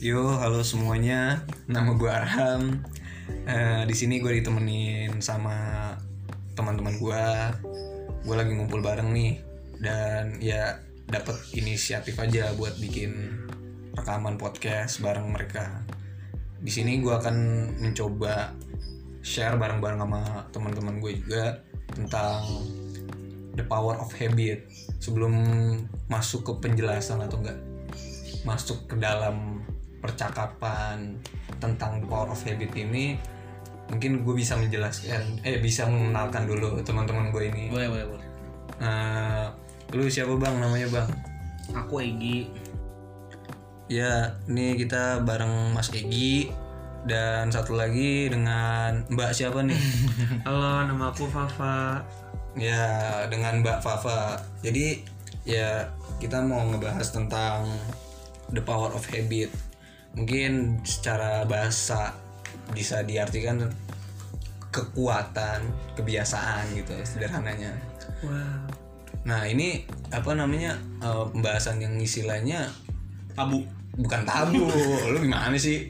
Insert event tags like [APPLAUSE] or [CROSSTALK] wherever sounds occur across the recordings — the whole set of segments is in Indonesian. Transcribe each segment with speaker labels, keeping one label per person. Speaker 1: Yo, halo semuanya. Nama gue Arham. Eh, di sini gue ditemenin sama teman-teman gue. Gue lagi ngumpul bareng nih dan ya dapat inisiatif aja buat bikin rekaman podcast bareng mereka. Di sini gue akan mencoba share bareng-bareng sama teman-teman gue juga tentang the power of habit. Sebelum masuk ke penjelasan atau enggak, masuk ke dalam percakapan tentang power of habit ini mungkin gue bisa menjelaskan eh bisa mengenalkan dulu teman-teman gue ini
Speaker 2: Boleh, boleh, boleh.
Speaker 1: Eh, lu siapa bang namanya bang
Speaker 2: Aku Egi.
Speaker 1: ya ini kita bareng Mas Egi dan satu lagi dengan Mbak siapa nih
Speaker 2: [LAUGHS] Halo, nama aku Fafa.
Speaker 1: ya dengan Mbak Fafa jadi ya kita mau ngebahas tentang the power of habit mungkin secara bahasa bisa diartikan kekuatan kebiasaan gitu sederhananya
Speaker 2: Wah.
Speaker 1: nah ini apa namanya eh, pembahasan yang istilahnya
Speaker 2: Tabu.
Speaker 1: bukan tabu lu gimana sih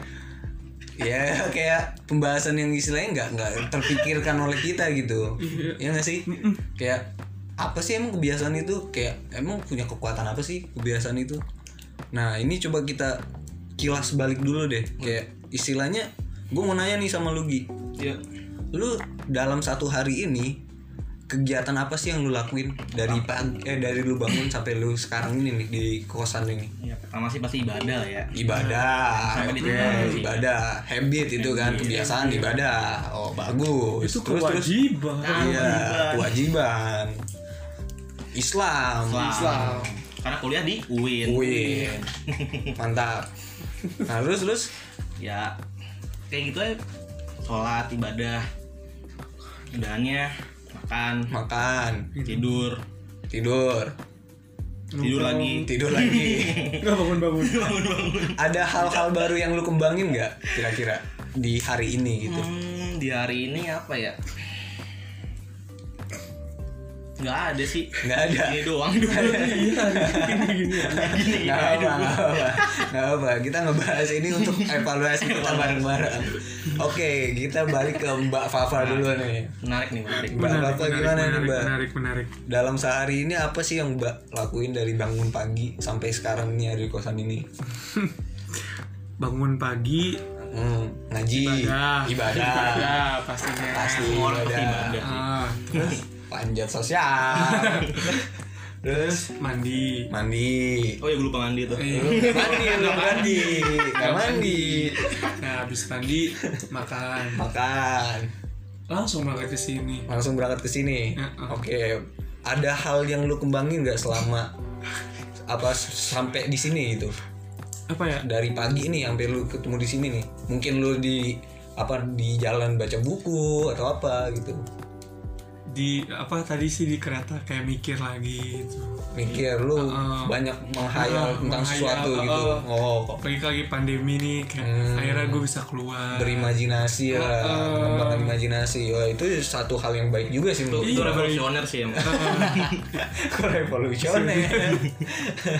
Speaker 1: ya kayak pembahasan yang istilahnya nggak nggak terpikirkan oleh kita gitu ya nggak sih kayak apa sih emang kebiasaan itu kayak emang punya kekuatan apa sih kebiasaan itu nah ini coba kita kilas balik dulu deh kayak istilahnya gue mau nanya nih sama lu Gi
Speaker 2: Ya.
Speaker 1: lu dalam satu hari ini kegiatan apa sih yang lu lakuin dari pagi eh dari lu bangun sampai lu sekarang ini nih di kosan ini
Speaker 2: Ya, pertama sih pasti ibadah lah ya.
Speaker 1: ibadah
Speaker 2: Sama di
Speaker 1: Oke,
Speaker 2: tempat sih.
Speaker 1: ibadah habit itu kan kebiasaan ibadah oh bagus
Speaker 3: itu
Speaker 1: terus terus
Speaker 3: kewajiban
Speaker 1: iya kewajiban Islam
Speaker 2: Islam. Karena kuliah di UIN.
Speaker 1: wih mantap nah terus terus
Speaker 2: Ya. Kayak gitu aja. Sholat, ibadah. Udahannya makan,
Speaker 1: makan
Speaker 2: tidur,
Speaker 1: tidur
Speaker 2: tidur lagi.
Speaker 1: tidur lagi
Speaker 3: nggak bangun bangun
Speaker 1: ada hal-hal baru yang lu kembangin nggak kira-kira di hari ini gitu
Speaker 2: Hmm, di hari ini apa ya? Nggak ada sih.
Speaker 1: nggak ada
Speaker 2: Ini doang dulu.
Speaker 3: iya gini gini
Speaker 2: Gini,
Speaker 1: [LAUGHS] Nggak apa, nggak apa, nggak apa. Kita ngebahas ini untuk evaluasi kita bareng-bareng. Oke, kita balik ke Mbak Fafa dulu nih.
Speaker 2: Menarik nih, menarik.
Speaker 1: Mbak Fafa gimana nih
Speaker 3: menarik
Speaker 1: Mbak?
Speaker 3: menarik menarik
Speaker 1: Dalam sehari ini apa sih yang Mbak lakuin dari bangun pagi sampai sekarang ini ada di kosan ini?
Speaker 3: bangun pagi
Speaker 1: Hmm, ngaji,
Speaker 3: ibadah
Speaker 1: ibadah,
Speaker 3: Ibadah, pastinya
Speaker 1: pasti
Speaker 2: Semua orang pasti
Speaker 1: ibadah,
Speaker 2: ibadah.
Speaker 3: Ah,
Speaker 1: panjat sosial, terus
Speaker 3: mandi
Speaker 1: mandi.
Speaker 2: Oh ya gue lupa mandi tuh.
Speaker 3: Eh,
Speaker 1: Nggak mandi, nggak mandi, nggak mandi,
Speaker 3: nah habis mandi makan
Speaker 1: makan.
Speaker 3: langsung berangkat ke sini
Speaker 1: langsung berangkat ke sini.
Speaker 3: Heeh.
Speaker 1: Oke, ada hal yang lu kembangin nggak selama apa s- sampai di sini gitu?
Speaker 3: apa ya
Speaker 1: Dari pagi nih sampai lu ketemu di sini nih. Mungkin lu di apa di jalan baca buku atau apa gitu.
Speaker 3: di apa tadi sih di kereta kayak mikir lagi gitu
Speaker 1: Mikir lu
Speaker 3: Heeh.
Speaker 1: banyak menghayal
Speaker 3: Heeh,
Speaker 1: tentang
Speaker 3: menghayal,
Speaker 1: sesuatu gitu.
Speaker 3: heeh.
Speaker 1: Oh, kok
Speaker 3: apalagi lagi pandemi nih kayak
Speaker 1: Hmm.
Speaker 3: akhirnya gue bisa keluar
Speaker 1: berimajinasi ya,
Speaker 3: Heeh.
Speaker 1: mengembangkan imajinasi. Wah, itu satu hal yang baik juga sih
Speaker 2: Itu,
Speaker 3: Iya,
Speaker 1: menurut
Speaker 2: itu
Speaker 1: gua.
Speaker 2: revolusioner sih [LAUGHS] emang.
Speaker 1: Kok revolusioner [LAUGHS]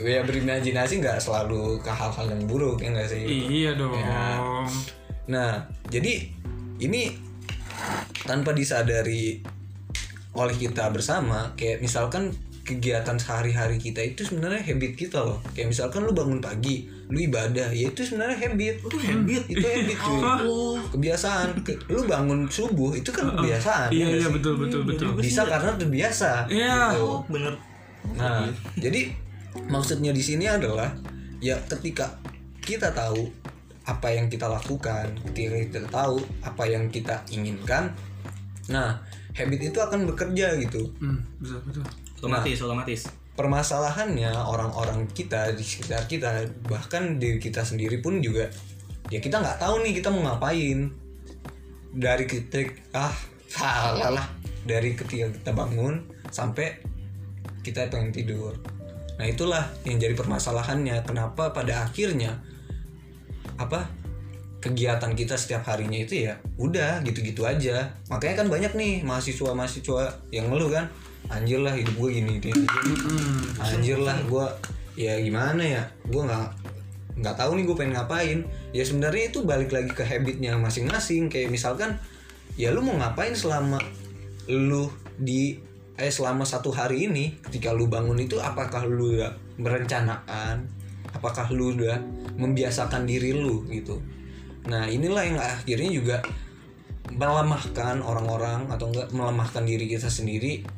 Speaker 1: ya berimajinasi nggak selalu ke hal-hal yang buruk ya nggak sih
Speaker 3: iya dong
Speaker 1: Ya. nah jadi ini tanpa disadari oleh kita bersama kayak misalkan kegiatan sehari-hari kita itu sebenarnya habit kita loh kayak misalkan lu bangun pagi lu ibadah ya itu sebenarnya habit itu habit itu habit
Speaker 3: [LAUGHS]
Speaker 1: cuy
Speaker 3: Oh.
Speaker 1: kebiasaan Ke- lu bangun subuh itu kan kebiasaan ya
Speaker 3: iya
Speaker 1: nggak
Speaker 3: iya
Speaker 1: sih?
Speaker 3: betul betul betul
Speaker 1: bisa karena terbiasa
Speaker 3: Iya.
Speaker 1: gitu.
Speaker 2: Oh, bener.
Speaker 1: Nah, jadi maksudnya di sini adalah ya ketika kita tahu apa yang kita lakukan, ketika kita tahu apa yang kita inginkan, nah habit itu akan bekerja gitu.
Speaker 3: Hmm, betul betul.
Speaker 2: Otomatis, otomatis.
Speaker 1: Permasalahannya orang-orang kita di sekitar kita, bahkan diri kita sendiri pun juga ya kita nggak tahu nih kita mau ngapain dari ketik ah salah lah dari ketika kita bangun sampai kita pengen tidur nah itulah yang jadi permasalahannya kenapa pada akhirnya apa kegiatan kita setiap harinya itu ya udah gitu-gitu aja makanya kan banyak nih mahasiswa mahasiswa yang ngeluh kan anjir lah hidup gue gini gini, gini. anjir lah gue ya gimana ya gue nggak nggak tahu nih gue pengen ngapain ya sebenarnya itu balik lagi ke habitnya masing-masing kayak misalkan ya lu mau ngapain selama lu di eh selama satu hari ini ketika lu bangun itu apakah lu udah merencanakan apakah lu udah membiasakan diri lu gitu nah inilah yang akhirnya juga melemahkan orang-orang atau enggak melemahkan diri kita sendiri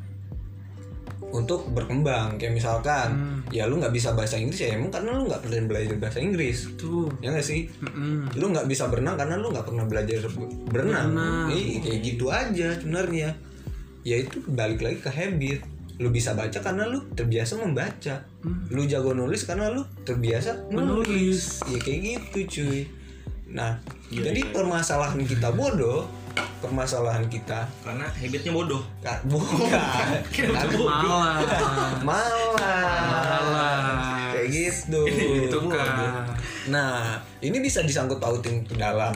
Speaker 1: untuk berkembang kayak misalkan ya lu nggak bisa bahasa Inggris ya emang karena lu nggak pernah belajar bahasa Inggris
Speaker 3: tuh
Speaker 1: ya nggak sih
Speaker 3: Mm-mm.
Speaker 1: lu nggak bisa berenang karena lu nggak pernah belajar be- berenang
Speaker 3: Berenang.
Speaker 1: Iya, kayak gitu aja sebenarnya ya itu balik lagi ke habit lu bisa baca karena lu terbiasa membaca lu jago nulis karena lu terbiasa nulis
Speaker 3: menulis
Speaker 1: ya kayak gitu cuy nah
Speaker 2: Iya,
Speaker 1: jadi
Speaker 2: iya.
Speaker 1: permasalahan kita bodoh permasalahan kita
Speaker 2: karena habitnya bodoh
Speaker 1: ka- bukan
Speaker 2: Kira-kira
Speaker 3: Oh,
Speaker 2: bodoh.
Speaker 3: malah
Speaker 1: malah kayak gitu
Speaker 3: itu kan
Speaker 1: Nah, ini bisa disangkut pautin ke dalam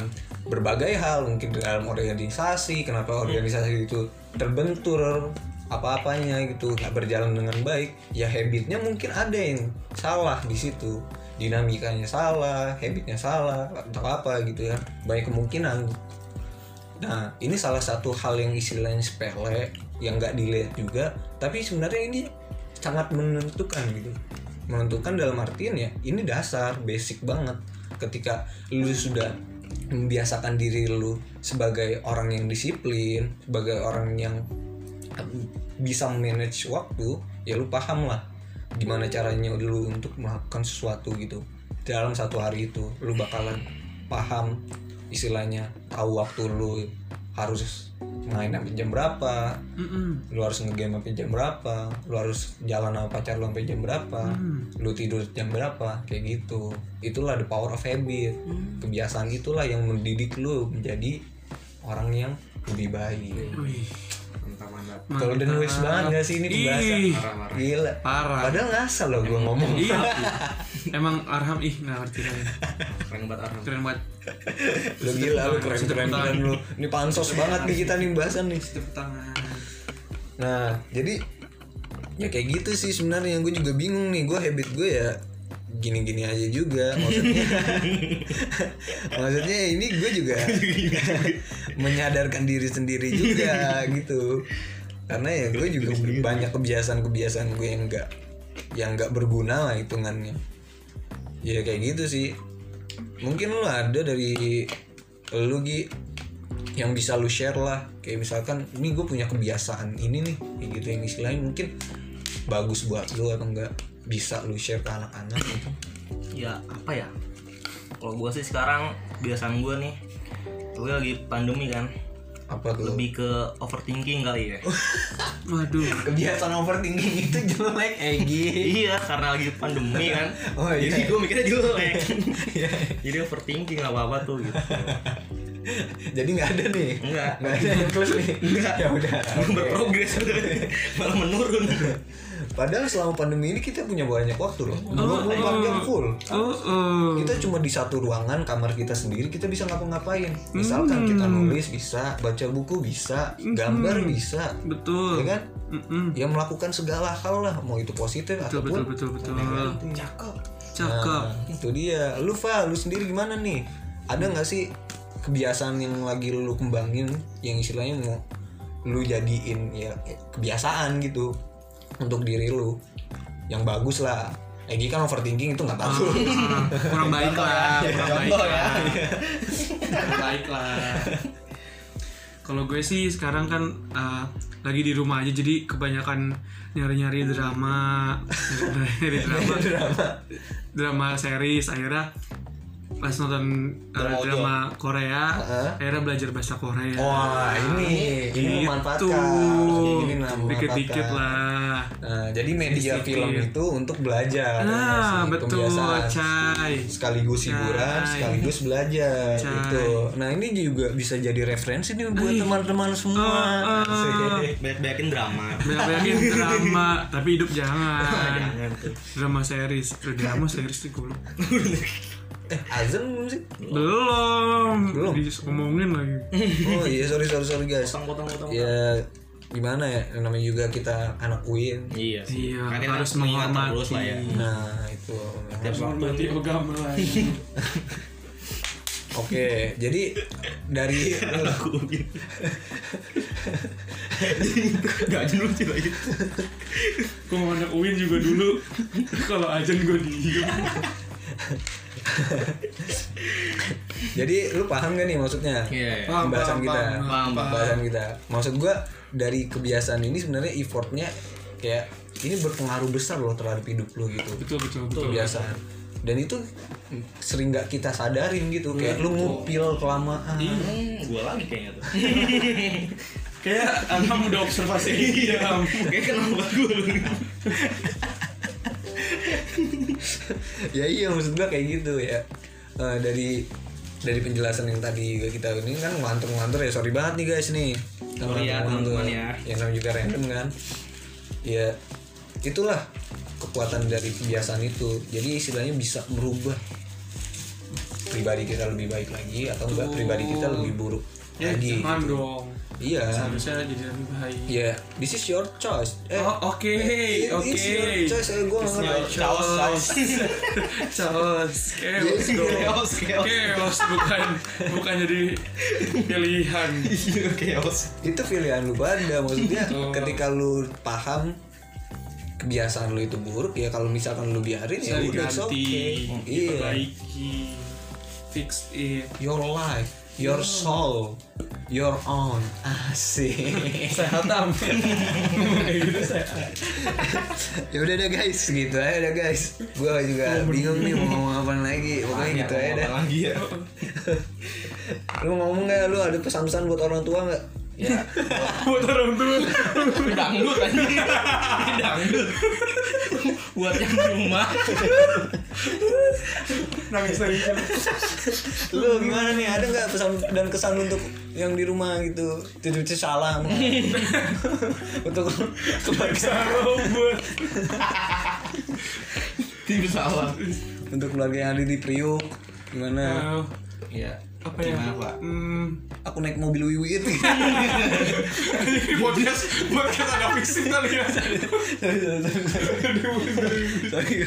Speaker 1: berbagai hal, mungkin ke dalam organisasi, kenapa organisasi itu terbentur apa-apanya gitu, nggak berjalan dengan baik, ya habitnya mungkin ada yang salah di situ, dinamikanya salah, habitnya salah, atau apa gitu ya, banyak kemungkinan. Nah, ini salah satu hal yang istilahnya sepele, yang nggak dilihat juga, tapi sebenarnya ini sangat menentukan gitu. Menentukan dalam artian ya, ini dasar, basic banget. Ketika lu sudah membiasakan diri lu sebagai orang yang disiplin, sebagai orang yang bisa manage waktu, ya lu paham lah gimana caranya lu untuk melakukan sesuatu gitu. Dalam satu hari itu, lu bakalan paham istilahnya tahu waktu lu harus main sampai jam berapa
Speaker 3: Mm-mm.
Speaker 1: lu harus ngegame sampai jam berapa lu harus jalan sama pacar lu sampai jam berapa lu tidur jam berapa kayak gitu itulah the power of habit kebiasaan itulah yang mendidik lu menjadi orang yang lebih baik
Speaker 3: Wih,
Speaker 2: mantap mantap
Speaker 1: kalau dan wise banget gak sih ini pembahasan
Speaker 3: Ih,
Speaker 2: parah parah
Speaker 1: gila
Speaker 3: parah
Speaker 1: padahal ngasal loh gue ngomong
Speaker 3: iya emang Arham ih nggak ngerti kan
Speaker 2: keren banget Arham
Speaker 3: keren banget
Speaker 1: lu gila lu keren keren keren lu ini pansos banget nih kita nih bahasan nih
Speaker 3: tepuk tangan
Speaker 1: Nah, jadi ya kayak gitu sih sebenarnya gue juga bingung nih gue habit gue ya gini-gini aja juga [LAUGHS] maksudnya maksudnya ini gue [LAUGHS] juga menyadarkan diri sendiri juga gitu karena ya gue juga banyak kebiasaan-kebiasaan gue yang enggak yang enggak berguna lah hitungannya ya kayak gitu sih mungkin lu ada dari lu Gi, yang bisa lu share lah kayak misalkan ini gue punya kebiasaan ini nih kayak gitu yang istilahnya mungkin bagus buat lu atau enggak bisa lu share ke anak-anak gitu
Speaker 2: ya apa ya kalau gue sih sekarang kebiasaan gue nih gue lagi pandemi kan
Speaker 1: apa tuh
Speaker 2: lebih ke overthinking kali ya
Speaker 1: Oh,
Speaker 3: waduh
Speaker 1: kebiasaan overthinking itu jelek eh, Egi
Speaker 2: iya karena lagi pandemi kan
Speaker 1: Oh, iya.
Speaker 2: jadi gue mikirnya
Speaker 1: [LAUGHS]
Speaker 2: jelek jadi overthinking lah apa apa tuh gitu
Speaker 1: jadi nggak ada nih
Speaker 2: Enggak.
Speaker 1: nggak ada yang plus nih
Speaker 2: Enggak.
Speaker 1: ya udah oke. [LAUGHS]
Speaker 2: berprogres malah menurun
Speaker 1: padahal selama pandemi ini kita punya banyak waktu loh 24 jam full
Speaker 3: oh, oh.
Speaker 1: kita cuma di satu ruangan kamar kita sendiri kita bisa ngapa-ngapain
Speaker 3: Hmm.
Speaker 1: misalkan kita nulis bisa baca buku bisa gambar bisa ya
Speaker 3: Hmm. betul
Speaker 1: kan
Speaker 3: Mm-mm.
Speaker 1: ya melakukan segala hal lah mau itu positif
Speaker 3: betul
Speaker 1: ataupun
Speaker 3: betul betul betul
Speaker 1: cakep
Speaker 3: cakep
Speaker 1: itu dia lu Fa, lu sendiri gimana nih ada nggak sih kebiasaan yang lagi lu kembangin yang istilahnya mau lu jadiin ya kebiasaan gitu untuk diri lu yang bagus lah Egi kan overthinking itu nggak bagus
Speaker 3: Ah, kurang baik lah kurang baik
Speaker 1: Contoh ya.
Speaker 3: lah kurang baik lah kalau gue sih sekarang kan eh, lagi di rumah aja jadi kebanyakan nyari-nyari drama
Speaker 1: [LAUGHS]
Speaker 3: nyari drama drama series akhirnya pas nonton eh,
Speaker 1: Drama audio.
Speaker 3: drama Korea
Speaker 1: Heeh.
Speaker 3: akhirnya belajar bahasa Korea
Speaker 1: Wah ini ini memanfaatkan
Speaker 3: Gitu.
Speaker 1: Kayak gini lah,
Speaker 3: dikit-dikit
Speaker 1: memanfaatkan.
Speaker 3: lah
Speaker 1: Nah, jadi media
Speaker 3: Disiplin.
Speaker 1: film itu untuk belajar ya nggak
Speaker 3: nah
Speaker 1: sih?
Speaker 3: betul
Speaker 1: Pembiasaan.
Speaker 3: cai
Speaker 1: sekaligus hiburan
Speaker 3: Cai.
Speaker 1: sekaligus belajar
Speaker 3: Cai.
Speaker 1: gitu nah ini juga bisa jadi referensi nih buat teman-teman semua Asik.
Speaker 2: banyak-banyakin drama
Speaker 3: Banyak-banyakin drama, tapi hidup jangan.
Speaker 2: jangan tuh
Speaker 3: Drama series, Eh, drama series sih gue belum.
Speaker 1: eh azan belum sih
Speaker 3: Belum,
Speaker 1: Belum.
Speaker 3: Diomongin lagi.
Speaker 1: oh iya sorry sorry sorry guys
Speaker 2: potong potong potong
Speaker 1: ya gimana ya namanya juga kita anak UIN
Speaker 2: Iya sih.
Speaker 3: Iya,
Speaker 2: Karena kita
Speaker 3: harus
Speaker 2: mengingat
Speaker 3: menghormati.
Speaker 2: terus lah ya.
Speaker 1: nah itu
Speaker 2: Tiap waktu
Speaker 3: Hormati agama lah.
Speaker 1: oke jadi dari
Speaker 2: aku [LAUGHS] gitu. Gak aja lucu lagi.
Speaker 3: Gue mau anak Uin juga dulu. Kalau ajan gue diem.
Speaker 1: jadi lu paham gak nih maksudnya
Speaker 2: Iya. iya.
Speaker 3: Paham,
Speaker 1: Pembahasan
Speaker 3: paham,
Speaker 1: kita.
Speaker 3: paham,
Speaker 2: Paham, paham.
Speaker 1: pembahasan kita maksud gua dari kebiasaan ini sebenarnya effortnya kayak ini berpengaruh besar loh terhadap hidup lu gitu
Speaker 3: Betul betul betul.
Speaker 1: kebiasaan dan itu sering nggak kita sadarin gitu kayak lu ngupil kelamaan
Speaker 2: Hmm, gua lagi kayaknya [LAUGHS] tuh.
Speaker 3: Kayak Anam udah
Speaker 2: [LAUGHS]
Speaker 3: observasi ini ya. Am.
Speaker 2: Iya. Kayak kenapa gue lu?
Speaker 1: [LAUGHS] ya iya maksud gua kayak gitu ya Eh, dari dari penjelasan yang tadi kita ini kan ngelantur-ngelantur ya sorry banget nih guys nih
Speaker 2: Sorry ya,
Speaker 1: Ngelantur-ngelantur.
Speaker 2: teman-teman ya.
Speaker 1: ya namanya juga random kan ya itulah kekuatan dari kebiasaan itu jadi istilahnya bisa merubah pribadi kita lebih baik lagi atau enggak pribadi kita lebih buruk
Speaker 3: Ya
Speaker 1: lagi
Speaker 3: jangan dong.
Speaker 1: iya
Speaker 3: Harusnya jadi lebih baik.
Speaker 1: ya this is your choice eh,
Speaker 3: Oh, oke,
Speaker 1: it-
Speaker 3: oke.
Speaker 1: it's your choice eh, gua nggak ngerti
Speaker 2: Chaos, chaos.
Speaker 3: Chaos, chaos,
Speaker 2: Chaos, chaos.
Speaker 3: chaos bukan bukan jadi pilihan.
Speaker 2: Iya, chaos.
Speaker 1: itu pilihan lu pada maksudnya
Speaker 3: [LAUGHS] Oh.
Speaker 1: ketika lu paham kebiasaan lu itu buruk ya kalau misalkan lu biarin ya
Speaker 3: Bisa
Speaker 1: udah it's okay
Speaker 3: diganti,
Speaker 1: iya
Speaker 3: diperbaiki, fix it.
Speaker 1: your life your
Speaker 3: Hmm.
Speaker 1: soul your own
Speaker 3: [LAUGHS]
Speaker 1: asik
Speaker 3: Sehat
Speaker 1: [LAUGHS]
Speaker 3: am. Kayak gitu sehat.
Speaker 1: ya udah deh guys gitu aja deh guys gua
Speaker 3: Iya,
Speaker 1: juga bingung nih mau ngomong apa lagi pokoknya gitu aja deh
Speaker 2: Lagi ya.
Speaker 1: lu mau ngomong gak lu ada pesan-pesan buat orang tua nggak
Speaker 2: Ya.
Speaker 3: Buat orang tua.
Speaker 2: Dangdut aja. Dangdut. Buat yang di rumah.
Speaker 3: Nangis nangis.
Speaker 1: lu gimana nih ada nggak pesan dan kesan untuk yang di rumah gitu cucu-cucu salam untuk keluarga
Speaker 3: Taruh buat.
Speaker 2: Tim salah.
Speaker 1: untuk keluarga yang ada di Priuk gimana
Speaker 3: Eh,
Speaker 2: Iya.
Speaker 3: Apa ya?
Speaker 2: Gimana, Pak?
Speaker 3: Hmm.
Speaker 1: aku naik mobil wiwi itu
Speaker 3: Ini podcast podcast ada fixing kali ya.
Speaker 1: sorry sorry, sorry.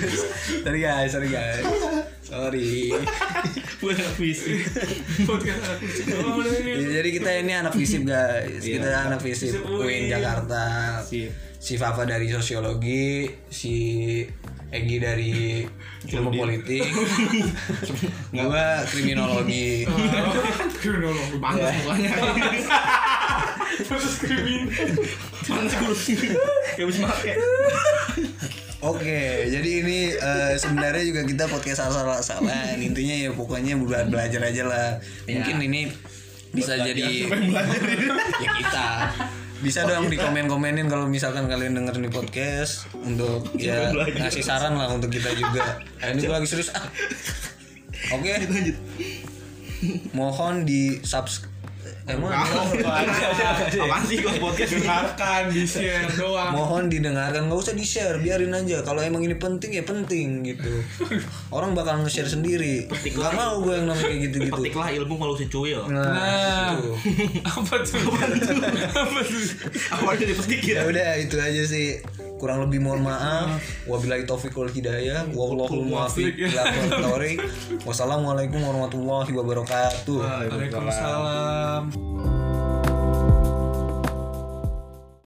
Speaker 1: Sorry, guys sorry guys sorry guys sorry
Speaker 2: Buat puisi.
Speaker 3: Podcast ada fixing. Oh, ini.
Speaker 1: jadi kita ini anak visip guys kita anak visip
Speaker 3: Visip
Speaker 1: UIN
Speaker 3: UIN.
Speaker 1: Jakarta
Speaker 2: Sip.
Speaker 1: si Fafa dari sosiologi si Egi dari ilmu politik gua kriminologi
Speaker 3: Oh, Kriminolog.
Speaker 2: Panas mukanya.
Speaker 3: Terus krimin.
Speaker 2: Panas kursi. Kayak bisa pakai.
Speaker 1: Oke, jadi ini eh, sebenarnya juga kita podcast asal-asalan. Intinya ya pokoknya buat belajar aja lah. Mungkin
Speaker 2: Iya.
Speaker 1: ini bisa jadi ya kita bisa dong di komen-komenin kalau misalkan kalian denger nih podcast untuk ya ngasih saran lah untuk kita juga. Ah, ini gua lagi serius. ah. Oke,
Speaker 2: Lanjut.
Speaker 1: mohon di Eh, subscribe. Emang
Speaker 2: Apaan sih kalau podcast ini?
Speaker 3: Dengarkan di share doang.
Speaker 1: mohon didengarkan nggak usah di share biarin aja kalau emang ini penting ya penting gitu orang bakal nge-share sendiri nggak mau gue yang namanya kayak gitu gitu
Speaker 2: Petiklah ilmu kalau si cuil.
Speaker 1: nah,
Speaker 3: Nah.
Speaker 1: gitu.
Speaker 3: Apa tuh? Apa tuh?
Speaker 2: Awalnya dipetik
Speaker 1: ya
Speaker 2: ya.
Speaker 1: udah itu aja sih kurang lebih mohon maaf wabillahi taufiq wal hidayah wallahul muwaffiq ila aqwamit thoriq. wassalamualaikum warahmatullahi wabarakatuh
Speaker 3: Waalaikumsalam.